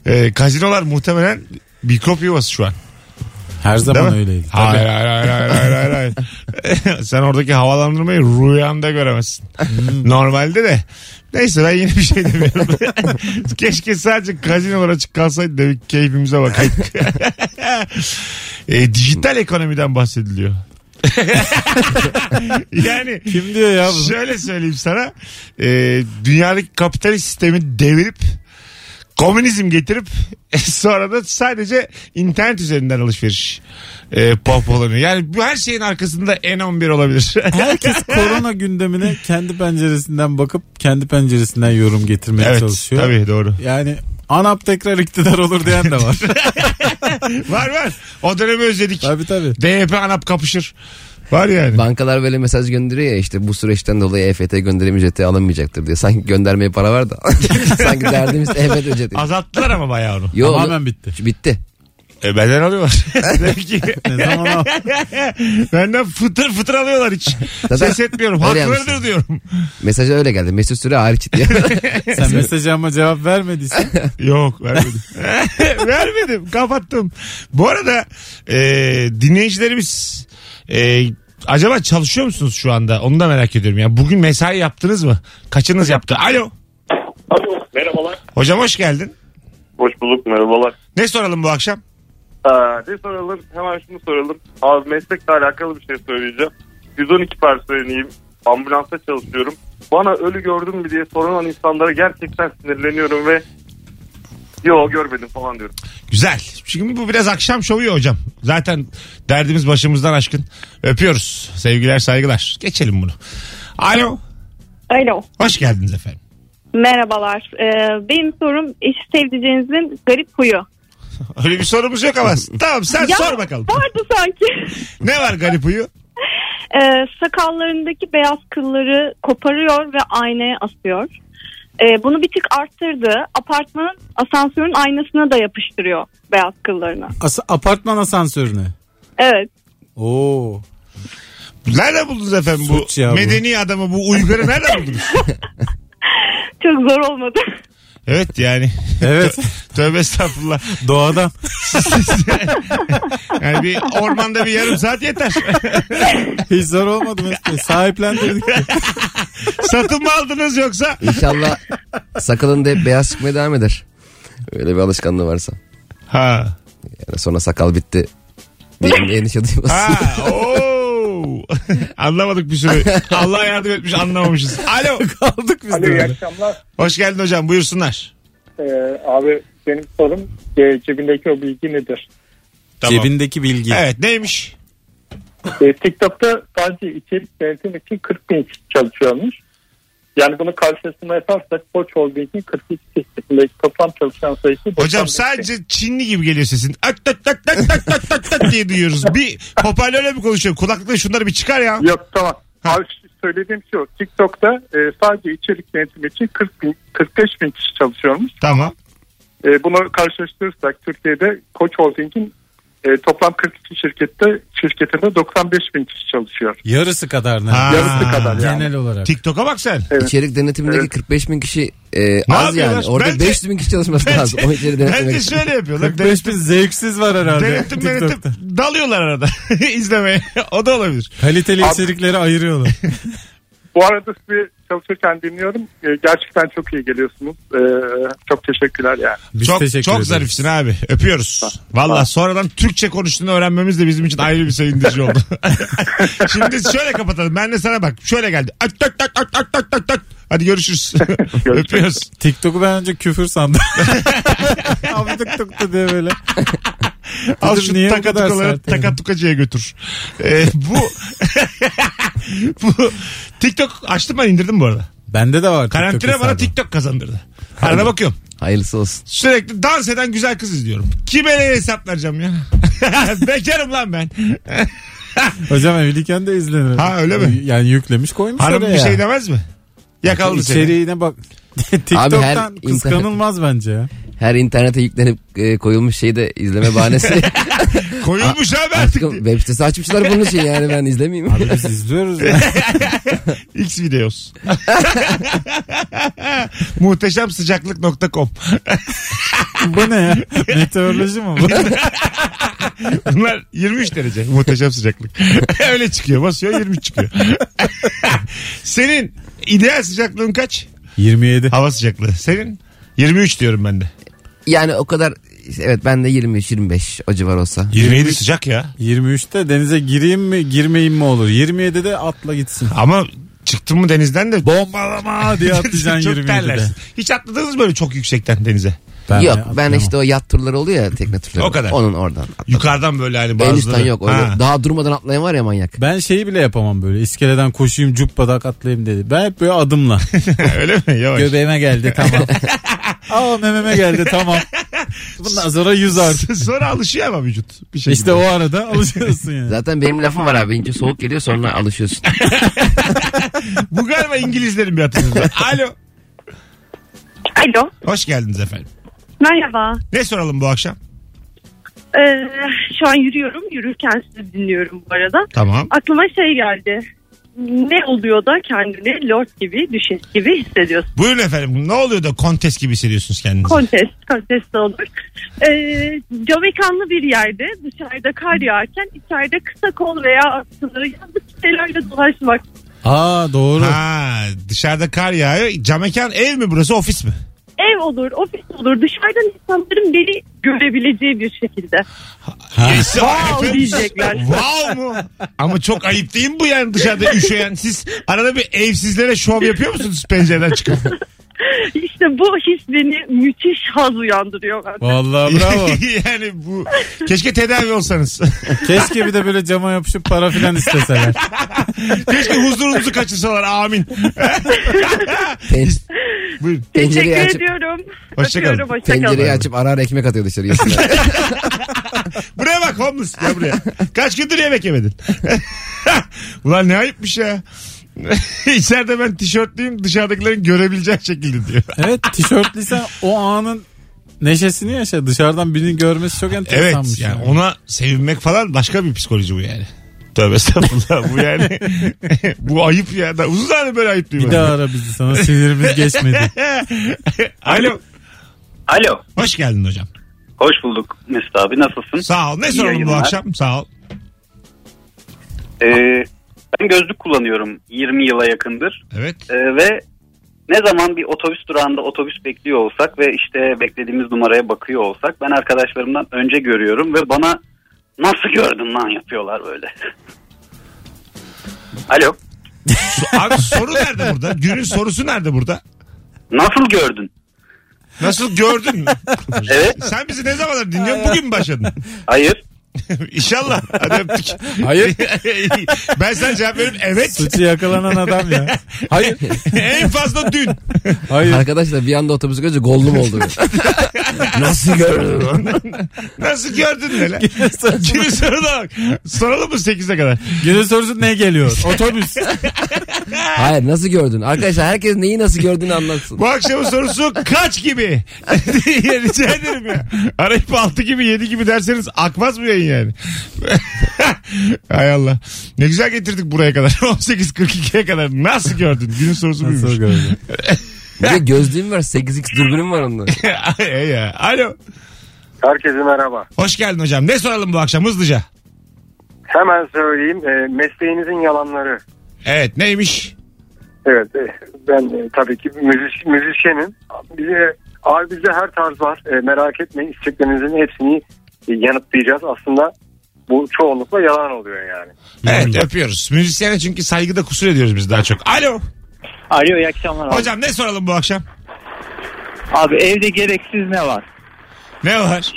S2: Ee, kazinolar muhtemelen mikrop yuvası şu an.
S3: Her
S2: Değil
S3: zaman
S2: mi?
S3: öyleydi.
S2: Hayır hayır hayır hayır hayır. hayır, hayır. Sen oradaki havalandırmayı rüyanda göremezsin. Hmm. Normalde de. Neyse ben yine bir şey demiyorum. Keşke sadece kazinolar açık kalsaydı da bir keyfimize bakaydık. e, dijital ekonomiden bahsediliyor. yani
S3: Kim diyor ya bunu?
S2: Şöyle söyleyeyim sana. Ee, dünyadaki kapitalist sistemi devirip komünizm getirip sonra da sadece internet üzerinden alışveriş e, pohpolanıyor. Yani bu her şeyin arkasında N11 olabilir.
S3: Herkes korona gündemine kendi penceresinden bakıp kendi penceresinden yorum getirmeye
S2: evet
S3: çalışıyor.
S2: tabii doğru.
S3: Yani ANAP tekrar iktidar olur diyen de var.
S2: Var var. O dönemi özledik.
S3: tabii tabii.
S2: DYP ANAP kapışır. Var yani.
S4: Bankalar böyle mesaj gönderiyor ya işte bu süreçten dolayı EFT gönderim ücreti alınmayacaktır diye. Sanki göndermeye para var da. Sanki derdimiz EFT ücreti.
S2: Azalttılar ama bayağı onu.
S4: Yo,
S3: Tamamen
S4: onu-
S3: bitti.
S4: Bitti.
S2: E, benden alıyorlar. Demek ki
S3: Ne zaman al-
S2: benden fıtır fıtır alıyorlar hiç.
S4: Zaten
S2: Ses etmiyorum.
S4: öyle
S2: Haklarıdır
S4: yapmışsın.
S2: diyorum.
S4: Mesajı öyle geldi. Mesut Süre hariç diye.
S3: sen mesajıma cevap vermediysen
S2: Yok vermedim. vermedim kapattım. Bu arada e, dinleyicilerimiz e, acaba çalışıyor musunuz şu anda? Onu da merak ediyorum. Yani bugün mesai yaptınız mı? Kaçınız yaptı? Alo.
S8: Alo merhabalar.
S2: Hocam hoş geldin.
S8: Hoş bulduk merhabalar.
S2: Ne soralım bu akşam?
S8: Ee, ne soralım hemen şunu soralım. Abi meslekle alakalı bir şey söyleyeceğim. 112 personeliyim. Ambulansta çalışıyorum. Bana ölü gördün mü diye soran insanlara gerçekten sinirleniyorum ve yo görmedim falan diyorum.
S2: Güzel. Çünkü bu biraz akşam şovu ya hocam. Zaten derdimiz başımızdan aşkın. Öpüyoruz. Sevgiler saygılar. Geçelim bunu. Alo.
S9: Alo.
S2: Hoş geldiniz efendim.
S9: Merhabalar. Ee, benim sorum eş sevdicenizin garip huyu.
S2: Öyle bir sorumuz yok ama. Tamam sen
S9: Ya,
S2: sor bakalım.
S9: Vardı sanki.
S2: Ne var garip uyu?
S9: Ee, sakallarındaki beyaz kılları koparıyor ve aynaya asıyor. Ee, bunu bir tık arttırdı. Apartmanın asansörün aynasına da yapıştırıyor beyaz kıllarını.
S3: as- apartman asansörüne.
S9: Evet.
S3: Oo.
S2: Nerede buldunuz efendim bu
S3: Suç ya bu.
S2: medeni adamı bu Uygar'ı nerede buldunuz?
S9: Çok zor olmadı.
S2: Evet yani.
S3: Evet.
S2: Tövbe estağfurullah.
S3: Doğadan.
S2: Yani bir ormanda bir yarım saat yeter.
S3: Hiç zor olmadı mesela. Sahiplendirdik.
S2: Satın mı aldınız yoksa?
S4: İnşallah sakalın da hep beyaz çıkmaya devam eder. Öyle bir alışkanlığı varsa.
S2: Ha.
S4: Yani sonra sakal bitti. Benim endişe duymasın.
S2: Ha. Oo. Anlamadık bir sürü. Allah yardım etmiş anlamamışız. Alo.
S3: Aldık biz de.
S10: Alo iyi
S3: öyle.
S10: akşamlar.
S2: Hoş geldin hocam buyursunlar.
S10: Ee, abi benim sorum e, cebindeki o bilgi nedir?
S2: Tamam.
S3: Cebindeki bilgi.
S2: Evet neymiş?
S10: E, TikTok'ta sadece içerik denetim için 40 bin kişi çalışıyormuş. Yani bunu karşısına yaparsak Koç Holding'in 42 şirketindeki toplam çalışan sayısı... 90 bin.
S2: Hocam sadece Çinli gibi geliyor sesin. Ak tak tak tak tak tak tak tak diye duyuyoruz. Bir hoparlörle mi konuşuyor? Kulaklığı şunları bir çıkar ya.
S10: Yok tamam. Abi şu- söylediğim şey o. TikTok'ta e, sadece içerik denetimi için 40 bin, 45 bin kişi çalışıyormuş.
S2: Tamam.
S10: E, bunu karşılaştırırsak Türkiye'de Koç Holding'in e, toplam 42 şirkette şirketinde 95 bin kişi çalışıyor.
S3: Yarısı kadar ne?
S2: Ha.
S10: Yarısı kadar yani.
S3: Genel olarak.
S2: TikTok'a bak sen.
S4: İçerik denetimindeki
S10: Evet.
S4: 45 bin kişi e, az
S2: yapıyorlar?
S4: yani. Orada
S2: Bence-
S4: 500 bin kişi çalışması lazım. O içeri
S2: Bence
S4: denetlemek için.
S2: şöyle yapıyorlar.
S3: 45 bin zevksiz var herhalde.
S2: Denetim denetim
S3: TikTok'ta.
S2: dalıyorlar arada izlemeye. o da olabilir.
S3: Kaliteli
S10: Abi-
S3: içerikleri ayırıyorlar.
S10: Bu arada sizi çalışırken dinliyorum. E, gerçekten çok iyi geliyorsunuz. E, çok teşekkürler yani.
S3: Biz
S2: çok
S3: teşekkür
S2: çok
S3: ederiz.
S2: zarifsin abi. Öpüyoruz. Valla sonradan Türkçe konuştuğunu öğrenmemiz de bizim için ayrı bir sevindirici oldu. Şimdi şöyle kapatalım. Ben de sana bak. Şöyle geldi. Ak tak tak tak tak tak tak tak. Hadi görüşürüz. Öpüyoruz.
S3: TikTok'u ben önce küfür sandım. Abi tık tık tık diye böyle.
S2: Al
S3: Kızım niye
S2: şu
S3: bu kadar
S2: takatukaları
S3: sert yani?
S2: takatukacıya götür. Ee, bu bu TikTok açtım ben indirdim bu arada.
S3: Bende de var.
S2: Karantina
S3: TikTok
S2: bana
S3: hesabı.
S2: TikTok kazandırdı. Arada bakıyorum.
S4: Hayırlısı olsun.
S2: Sürekli dans eden güzel kız izliyorum. Kime ne hesap vereceğim ya? Bekarım lan ben.
S3: Hocam evliyken de izlenir.
S2: Ha, öyle mi?
S3: Yani yüklemiş koymuş
S2: Hanım
S3: oraya.
S2: bir şey demez mi? Yakaladı seni.
S3: İçeriğine bak. TikTok'tan
S4: internet-
S3: kıskanılmaz bence ya.
S4: Her internete yüklenip e, koyulmuş şeyi de izleme bahanesi.
S2: Koyulmuş abi artık.
S4: Artık web sitesi açmışlar bunun için yani ben izlemeyeyim.
S3: Abi biz izliyoruz ya.
S2: X videos. Muhteşem sıcaklık.com.
S3: Bu ne ya? Meteoroloji mi bu?
S2: Bunlar 23 derece muhteşem sıcaklık. Öyle çıkıyor basıyor 23 çıkıyor. Senin ideal sıcaklığın kaç?
S3: 27.
S2: Hava sıcaklığı. Senin 23 diyorum ben de.
S4: Yani o kadar evet ben de 23-25 o civar olsa.
S2: 27 sıcak ya.
S3: 23'te denize gireyim mi girmeyeyim mi olur. 27'de atla gitsin.
S2: Ama çıktın mı denizden de
S3: Bombalama diye atlayacaksın
S2: çok
S3: 27'de.
S2: terlersin. Hiç atladınız mı böyle çok yüksekten denize?
S4: yok
S3: atlamam.
S4: ben işte o yat turları oluyor ya tekne turları.
S2: O kadar.
S4: Onun oradan.
S2: Yukarıdan böyle hani
S4: En
S2: bazıları.
S4: üstten yok. Öyle
S2: Ha.
S4: Daha durmadan atlayan var ya manyak.
S3: Ben şeyi bile yapamam böyle. İskeleden koşayım cuppadak atlayayım dedi. Ben hep böyle adımla.
S2: Öyle mi? Yavaş.
S3: Göbeğime geldi tamam. Aa mememe geldi tamam. Bundan sonra yüz artık.
S2: Sonra alışıyor ama vücut. Bir şey
S3: İşte o arada alışıyorsun yani.
S4: Zaten benim lafım var abi. İnce soğuk geliyor sonra alışıyorsun.
S2: Bu galiba İngilizlerin bir hatırlısı. Alo.
S9: Alo.
S2: Hoş geldiniz efendim.
S9: Merhaba.
S2: Ne soralım bu akşam?
S9: Ee, şu an yürüyorum. Yürürken sizi dinliyorum bu arada.
S2: Tamam.
S9: Aklıma şey geldi. Ne oluyor da kendini lord gibi, düşes gibi hissediyorsun?
S2: Buyurun efendim. Ne oluyor da kontes gibi hissediyorsunuz kendinizi?
S9: Kontes, kontes de olur. Ee, camekanlı bir yerde dışarıda kar yağarken içeride kısa kol veya atkıları yazlık şeylerle dolaşmak.
S3: Aa doğru.
S2: Ha, dışarıda kar yağıyor. Camekan ev mi burası ofis mi?
S9: Ev olur, ofis olur. Dışarıdan insanların beni görebileceği bir şekilde.
S2: Wow
S9: diyecekler.
S2: Wow mu? Ama çok ayıp değil mi bu yani dışarıda üşüyen? Siz arada bir evsizlere şov yapıyor musunuz pencereden çıkıp?
S9: İşte bu his beni müthiş haz uyandırıyor bende.
S3: Vallahi bravo.
S2: yani bu keşke tedavi olsanız.
S3: Keşke bir de böyle cama yapışıp para filan isteseler.
S2: keşke huzurunuzu kaçırsalar. Amin.
S4: Pen-
S2: Buyurun.
S4: pencereyi
S9: Teşekkür
S4: açıp,
S9: ediyorum.
S2: Hoşçakalın.
S9: Öpüyorum, hoşçakalın.
S4: pencereyi açıp ara ara ekmek atıyor dışarıya.
S2: Buraya bak homeless. Gel buraya. Kaç gündür yemek yemedin? Ulan ne ayıpmış ya. İçeride ben tişörtlüyüm dışarıdakilerin görebileceği şekilde diyor.
S3: Evet tişörtlüysen o anın neşesini yaşa. Dışarıdan birini görmesi çok
S2: Evet
S3: enteresanmış.
S2: yani ona sevinmek falan başka bir psikoloji bu yani. Tövbe estağfurullah bu yani. bu ayıp ya. Da, uzun zamandır böyle ayıp
S3: Bir
S2: duymadım.
S3: daha ara bizi sana sinirimiz geçmedi.
S2: Alo.
S11: Alo.
S2: Hoş geldin hocam.
S11: Hoş bulduk Mesut abi. Nasılsın?
S2: Sağ ol. Ne
S11: İyi
S2: soralım bu
S11: yayınlar.
S2: akşam? Sağ ol.
S11: Ee, ben gözlük kullanıyorum 20 yıla yakındır.
S2: Evet.
S11: Ee, ve ne zaman bir otobüs durağında otobüs bekliyor olsak ve işte beklediğimiz numaraya bakıyor olsak ben arkadaşlarımdan önce görüyorum ve bana nasıl gördün lan yapıyorlar böyle. Alo.
S2: Abi soru nerede burada? Günün sorusu nerede burada?
S11: Nasıl gördün?
S2: Nasıl gördün?
S11: Evet.
S2: Sen bizi ne zamanlar dinliyorsun? Bugün mü başladın?
S11: Hayır.
S2: İnşallah. Hadi öptük.
S3: Hayır.
S2: ben sana cevap veriyorum. Evet.
S3: Suçu yakalanan adam ya. Hayır.
S2: en fazla dün.
S3: Hayır.
S4: Arkadaşlar bir anda otobüs görünce gollum oldu. Nasıl gördün? lan?
S2: Nasıl gördün böyle? Günün soruna bak. Soralım mı 8'e kadar?
S3: Günün sorusu ne geliyor? Otobüs.
S4: Hayır nasıl gördün? Arkadaşlar herkes neyi nasıl gördüğünü anlatsın.
S2: Bu akşamın sorusu kaç gibi? diye rica ederim ya. Arayıp 6 gibi 7 gibi derseniz akmaz mı yayın yani? Hay Allah. Ne güzel getirdik buraya kadar. 18.42'ye kadar. Nasıl gördün? Günün sorusu
S3: Nasıl
S2: buymuş.
S3: gördün?
S4: Bir de gözlüğüm var 8x dürbünüm var onda.
S2: Ay ya. Alo.
S10: Herkese merhaba.
S2: Hoş geldin hocam. Ne soralım bu akşam hızlıca?
S10: Hemen söyleyeyim. e, mesleğinizin yalanları.
S2: Evet neymiş?
S10: Evet. e, ben e, tabii ki müziş, müzisyenim. Bize, abi bize her tarz var. E, merak etmeyin. İsteklerinizin hepsini e, yanıtlayacağız. Aslında bu çoğunlukla yalan oluyor yani.
S2: Evet öpüyoruz. Müzisyene çünkü saygıda kusur ediyoruz biz daha çok. Alo.
S11: Alo iyi akşamlar
S2: Hocam ne soralım bu akşam?
S11: Abi evde gereksiz ne var?
S2: Ne var?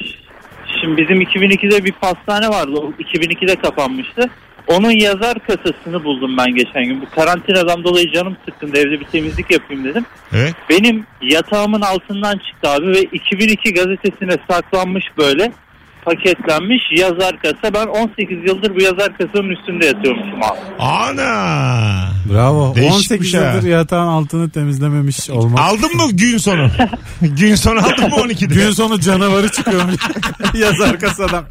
S11: Şimdi bizim 2002'de bir pastane vardı. O 2002'de kapanmıştı. Onun yazar kasasını buldum ben geçen gün. Bu karantinadan dolayı canım sıkkındı. Evde bir temizlik yapayım dedim.
S2: Evet.
S11: Benim yatağımın altından çıktı abi ve 2002 gazetesine saklanmış böyle paketlenmiş yazar kasa. Ben 18 yıldır bu yazar kasanın üstünde yatıyormuşum abi.
S2: Ana.
S3: Bravo.
S2: Değişikmiş
S3: 18
S2: ha.
S3: yıldır yatağın altını temizlememiş olmak.
S2: Aldın mı gün sonu? gün sonu aldın mı 12'de?
S3: Gün sonu canavarı çıkıyor. Yazar kasadan.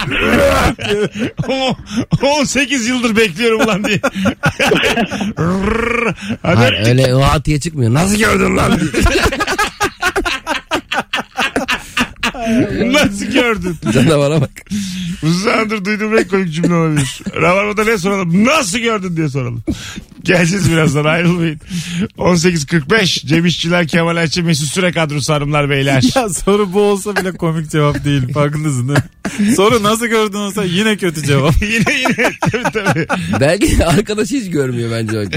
S2: 18 yıldır bekliyorum ulan diye. Rrrr. Hadi
S4: Hayır
S2: öptük.
S4: öyle o hatiye çıkmıyor. Nasıl gördün lan?
S2: Nasıl gördün?
S4: Canavara bak.
S2: Uzun zamandır duyduğum en komik cümle olabilir. Rabarba'da ne soralım? Nasıl gördün diye soralım. Geleceğiz birazdan ayrılmayın. 18.45 Cem İşçiler, Kemal Ayçi, Mesut Süre kadrosu hanımlar beyler.
S3: Ya soru bu olsa bile komik cevap değil. Farkındasın değil mi? Soru nasıl gördün olsa yine kötü cevap.
S2: yine yine tabii tabii.
S4: Belki arkadaşı hiç görmüyor bence bak.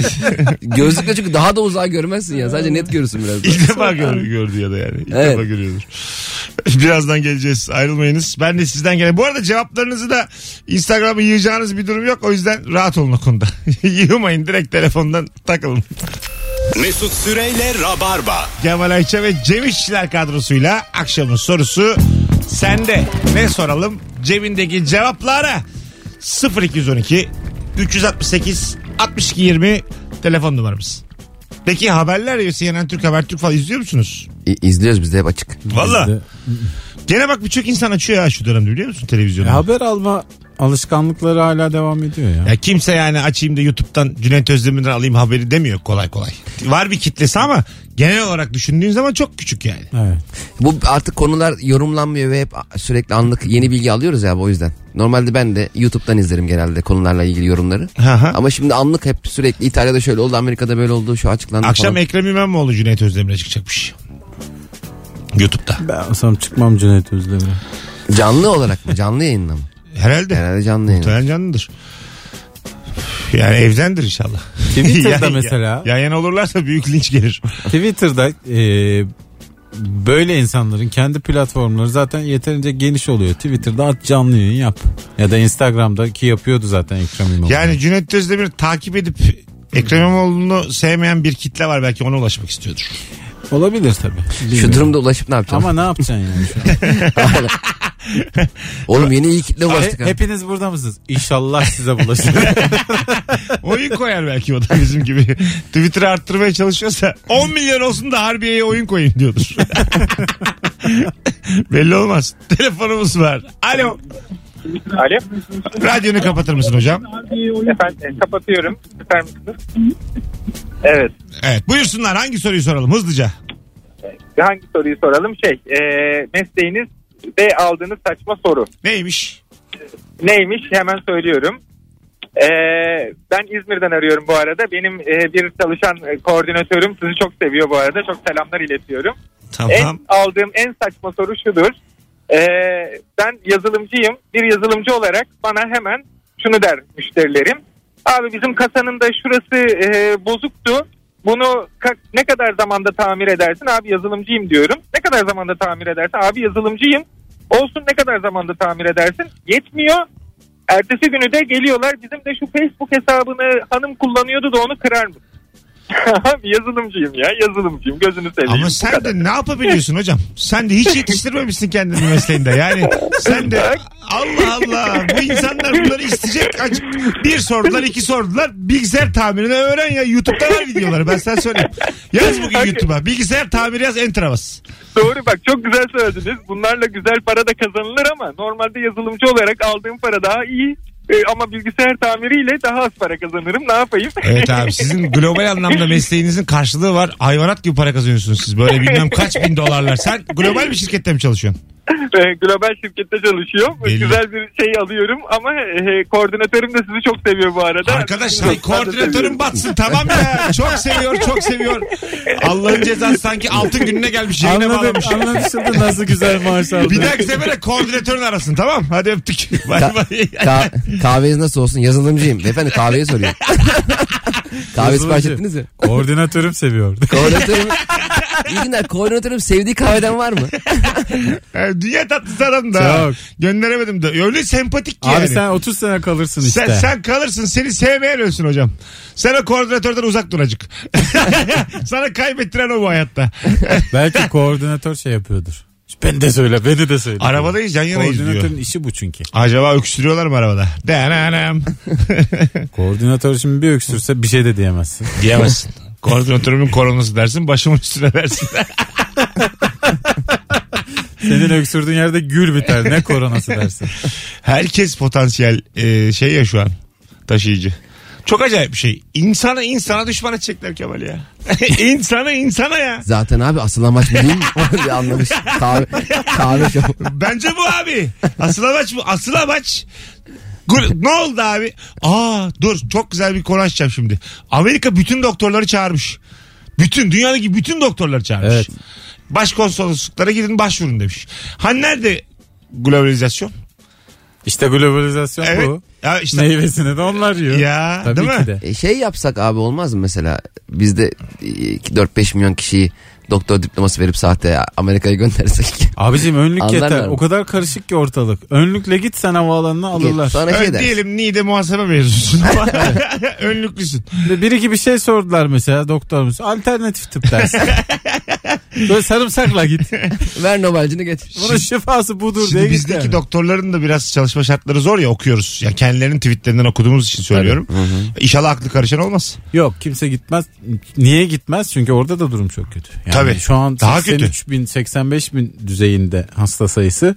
S4: Gözlükle çünkü daha da uzağa görmezsin ya. Sadece net görürsün biraz. daha.
S2: İlk defa gör, gördü ya da yani. İlk
S4: Evet.
S2: defa görüyordur. Birazdan geleceğiz. Ayrılmayınız. Ben de sizden gene. Bu arada cevaplarınızı da Instagram'a yığacağınız bir durum yok. O yüzden rahat olun o konuda. Yığmayın. Direkt telefondan takılın.
S1: Mesut Süreyle Rabarba.
S2: Kemal Ayça ve Cem İşçiler kadrosuyla akşamın sorusu sende. Ne soralım? Cebindeki cevaplara 0212 368 62 20 telefon numaramız. Peki haberler ya CNN Türk Habertürk falan izliyor musunuz?
S4: İ- İzliyoruz biz de hep açık.
S2: Valla.
S3: Bizde-
S2: Gene bak birçok insan açıyor ya şu dönemde biliyor musun televizyonu?
S3: E, haber alma alışkanlıkları hala devam ediyor ya.
S2: Ya kimse yani açayım da YouTube'dan Cüneyt Özdemir'den alayım haberi demiyor kolay kolay. Var bir kitlesi ama genel olarak düşündüğün zaman çok küçük yani.
S3: Evet.
S4: Bu artık konular yorumlanmıyor ve hep sürekli anlık yeni bilgi alıyoruz ya abi o yüzden. Normalde ben de YouTube'dan izlerim genelde konularla ilgili yorumları.
S2: Aha.
S4: Ama şimdi anlık hep sürekli İtalya'da şöyle oldu, Amerika'da böyle oldu, şu açıklandı
S2: Akşam
S4: falan.
S2: Ekrem İmamoğlu Cüneyt Özdemir'e çıkacakmış. YouTube'da.
S3: Ben olsam çıkmam Cüneyt Özdemir'e.
S2: e-
S4: Canlı olarak mı? Canlı yayınla mı?
S2: Herhalde. Herhalde.
S4: Herhalde canlı yayın.
S2: canlıdır. Yani evdendir inşallah.
S3: Twitter'da mesela.
S2: Yan yana olurlarsa büyük linç gelir.
S3: Twitter'da e, böyle insanların kendi platformları zaten yeterince geniş oluyor. Twitter'da at canlı yayın yap. Ya da Instagram'daki yapıyordu zaten Ekrem İmamoğlu.
S2: Yani Cüneyt Özdemir takip edip Ekrem İmamoğlu'nu sevmeyen bir kitle var belki ona ulaşmak istiyordur.
S3: Olabilir tabii.
S4: Şu
S3: Bilmiyorum.
S4: durumda ulaşıp ne yapacağım?
S3: ama ne yapacaksın yani şu an?
S4: Oğlum yeni iyi kitle ulaştık.
S3: He-
S4: ha.
S3: hepiniz burada mısınız? İnşallah size bulaşır.
S2: Oyun koyar belki o da bizim gibi. Twitter'ı arttırmaya çalışıyorsa 10 milyon olsun da Harbiye'ye oyun koyayım diyordur. Belli olmaz. Telefonumuz var. Alo.
S10: Alo.
S2: Radyonu kapatır mısın hocam?
S12: e,
S10: Efendim kapatıyorum. Süper misiniz? Evet.
S2: Evet. Buyursunlar hangi soruyu soralım hızlıca.
S12: hangi soruyu soralım? Şey e, mesleğiniz ve aldığınız saçma soru.
S2: Neymiş?
S12: Neymiş hemen söylüyorum. E, ben İzmir'den arıyorum bu arada. Benim e, bir çalışan e, koordinatörüm sizi çok seviyor bu arada. Çok selamlar iletiyorum. En aldığım en saçma soru şudur. E, ben yazılımcıyım. Bir yazılımcı olarak bana hemen şunu der müşterilerim. Abi bizim kasanın da şurası e, bozuktu. Bunu ka- ne kadar zamanda tamir edersin? Abi yazılımcıyım diyorum. Ne kadar zamanda tamir edersin? Abi yazılımcıyım. Olsun ne kadar zamanda tamir edersin? Yetmiyor. Ertesi günü de geliyorlar. Bizim de şu Facebook hesabını hanım kullanıyordu da onu kırar mı? Abi yazılımcıyım ya yazılımcıyım gözünü seveyim.
S2: Ama
S12: Bu
S2: sen
S12: kadar.
S2: de ne yapabiliyorsun hocam? Sen de hiç yetiştirmemişsin kendini mesleğinde. Yani sen de Allah Allah bu insanlar bunları isteyecek. Acık Bir sordular iki sordular. Bilgisayar tamirini öğren ya. Youtube'da var videoları ben sana söyleyeyim. Yaz bugün Youtube'a. Bilgisayar tamiri yaz enter'a bas.
S12: Doğru bak çok güzel söylediniz. Bunlarla güzel para da kazanılır ama normalde yazılımcı olarak aldığım para daha iyi. E, ama bilgisayar tamiriyle daha az para kazanırım. Ne yapayım?
S2: Evet abi sizin global anlamda mesleğinizin karşılığı var. Hayvanat gibi para kazanıyorsunuz siz. Böyle bilmem kaç bin dolarlar. Sen global bir şirkette mi çalışıyorsun?
S12: E, Global şirkette çalışıyorum.
S2: Belli.
S12: Güzel bir şey alıyorum ama e, koordinatörüm de sizi çok seviyor bu arada.
S2: Arkadaşlar koordinatörün
S12: seviyorum.
S2: batsın tamam ya. Çok seviyor çok seviyor. Allah'ın cezası sanki altın gününe gelmiş yayına
S3: Anladım,
S2: bağlamış.
S3: anlaşıldı nasıl güzel maaş aldı.
S2: Bir dahaki sefere koordinatörün arasın tamam Hadi öptük. Bay
S4: Ka-
S2: bay.
S4: ka- kahveniz nasıl olsun? Yazılımcıyım. Beyefendi kahveyi soruyor. Kahve sipariş ettiniz mi?
S3: Koordinatörüm seviyor.
S4: Koordinatörüm... İyi günler. Koordinatörüm sevdiği kahveden var mı?
S2: Yani E, Dünya tatlısı adam da.
S3: Çok.
S2: Gönderemedim de. Öyle sempatik ki
S3: Abi
S2: yani.
S3: sen 30 sene kalırsın işte.
S2: Sen, sen kalırsın seni sevmeyen ölsün hocam. Sen o koordinatörden uzak dur acık. Sana kaybettiren o bu hayatta.
S3: Belki koordinatör şey yapıyordur. Ben de söyle, beni de söyle.
S2: Arabadayız yan yanayız diyor.
S3: Koordinatörün işi bu çünkü.
S2: Acaba öksürüyorlar mı arabada? Denenam.
S3: Koordinatör şimdi bir öksürse bir şey de diyemezsin.
S2: Diyemezsin. Koordinatörümün koronası dersin başımın üstüne dersin.
S3: Senin öksürdüğün yerde gül biter. Ne koronası dersin.
S2: Herkes potansiyel e, şey ya şu an taşıyıcı. Çok acayip bir şey. İnsana insana düşmana çekler Kemal ya. insana insana ya.
S4: Zaten abi asıl amaç bu değil mi? Onu bir anlamış. Kahve, kahve şov.
S2: Bence bu abi. Asıl amaç bu. Asıl amaç. Gul- Ne oldu abi? Aa dur çok güzel bir konu açacağım şimdi. Amerika bütün doktorları çağırmış. Bütün dünyadaki bütün doktorları çağırmış.
S3: Evet.
S2: Başkonsolosluklara gidin başvurun demiş. Hani nerede globalizasyon?
S3: İşte globalizasyon
S2: Evet.
S3: bu.
S2: Ya işte
S3: Meyvesini de onlar yiyor.
S2: Ya,
S3: Tabii
S2: değil
S3: ki
S2: mi?
S3: de.
S4: E, şey yapsak abi olmaz mı mesela? Bizde 4-5 milyon kişiyi doktor diploması verip sahte Amerika'ya göndersek.
S3: Abicim önlük
S4: Anlarlar
S3: yeter.
S4: mı?
S3: O kadar karışık ki ortalık. Önlükle git sen havaalanına alırlar.
S4: Sonra şey
S2: Ön,
S4: der.
S2: diyelim Niğde muhasebe mezunusun ama önlüklüsün.
S3: Şimdi bir iki bir şey sordular mesela doktorumuz. Alternatif tıp dersi. Böyle sarımsakla git.
S4: Ver Nobel'cini getir.
S3: Bunun şifası budur diye
S2: Şimdi
S3: git.
S2: bizdeki
S3: yani.
S2: doktorların da biraz çalışma şartları zor ya okuyoruz. Ya kendilerinin tweetlerinden okuduğumuz için söylüyorum. İnşallah aklı karışan olmaz.
S3: Yok kimse gitmez. Niye gitmez? Çünkü orada da durum çok kötü. Yani
S2: Tabii.
S3: Şu an
S2: Daha
S3: 83 bin 85 bin düzeyinde hasta sayısı.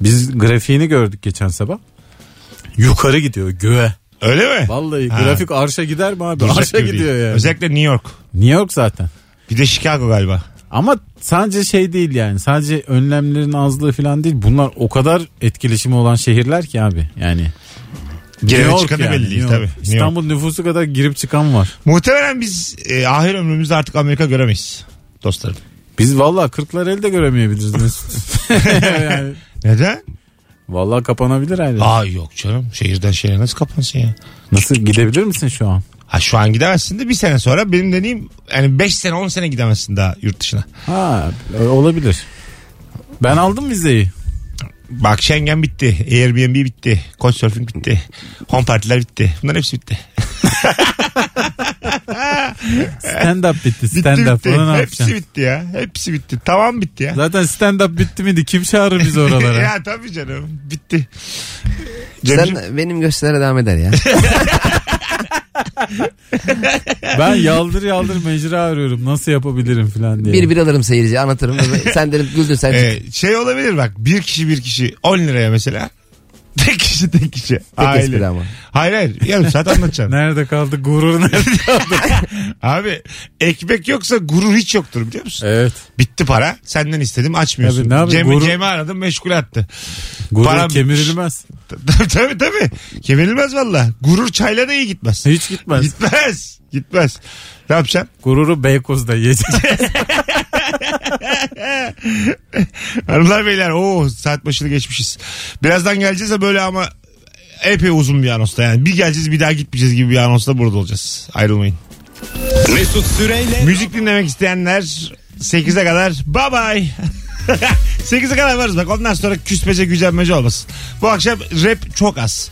S3: Biz grafiğini gördük geçen sabah. Yukarı gidiyor göğe.
S2: Öyle mi?
S3: Vallahi
S2: Ha.
S3: grafik arşa gider mi abi?
S2: Duracak
S3: arşa
S2: gibi
S3: gidiyor
S2: değil.
S3: yani.
S2: Özellikle New York.
S3: New York zaten.
S2: Bir de Chicago galiba.
S3: Ama sadece şey değil yani. Sadece önlemlerin azlığı falan değil. Bunlar o kadar etkileşimi olan şehirler ki abi. Yani
S2: Girene
S3: New York
S2: çıkanı belli değil
S3: New York.
S2: tabii. New York.
S3: İstanbul nüfusu kadar girip çıkan var.
S2: Muhtemelen biz e, ahir ömrümüzde artık Amerika göremeyiz dostlarım.
S3: Biz valla 40'lar elde göremeyebiliriz Mesut. yani.
S2: Neden?
S3: Valla kapanabilir aile.
S2: Aa yok canım. Şehirden şehre nasıl kapansın ya?
S3: Nasıl gidebilir misin şu an?
S2: Ha şu an gidemezsin de bir sene sonra benim deneyim yani 5 sene 10 sene gidemezsin daha yurt dışına.
S3: Ha e, olabilir. Ben aldım vizeyi.
S2: Bak Schengen bitti. Airbnb bitti. Couchsurfing bitti. Home partiler bitti. Bunların hepsi bitti.
S3: Stand up bitti.
S2: Bitti
S3: Stand up.
S2: bitti.
S3: Onu ne
S2: Hepsi
S3: yapacaksın?
S2: bitti ya. Hepsi bitti. Tamam bitti ya.
S3: Zaten stand up bitti miydi? Kim çağırır bizi oralara?
S2: ya tabii canım. Bitti. Cemciğim,
S4: Sen benim gösterilere devam eder ya.
S3: ben yaldır yaldır mecra arıyorum. Nasıl yapabilirim falan diye.
S4: bir bir alırım seyirciye anlatırım. sen derim güldün sen. çık.
S2: e, şey olabilir bak. Bir kişi bir kişi 10 liraya mesela Tek kişi tek kişi.
S4: Tek
S2: Aile.
S4: espri ama.
S2: Hayır hayır yarım saat anlatacağım. nerede kaldı gurur nerede kaldı? Abi ekmek yoksa gurur hiç yoktur biliyor musun?
S3: Evet.
S2: Bitti para senden istedim açmıyorsun.
S3: Tabii, ne yapayım,
S2: Cem'i,
S3: gurur-
S2: Cem'i aradım meşgul attı.
S3: Gurur
S2: Param-
S3: kemirilmez.
S2: tabii tabii tabii. Kemirilmez valla. Gurur çayla da iyi gitmez.
S3: Hiç gitmez.
S2: Gitmez. Gitmez. Ne yapacaksın?
S3: Gururu Beykoz'da yiyeceksin.
S2: Hanımlar beyler o saat başını geçmişiz. Birazdan geleceğiz de böyle ama epey uzun bir anonsta yani. Bir geleceğiz bir daha gitmeyeceğiz gibi bir anonsta burada olacağız. Ayrılmayın.
S1: Mesut Süreyle
S2: Müzik dinlemek isteyenler 8'e kadar bye bye. 8'e kadar varız bak ondan sonra küsmece gücenmece olmasın. Bu akşam rap çok az.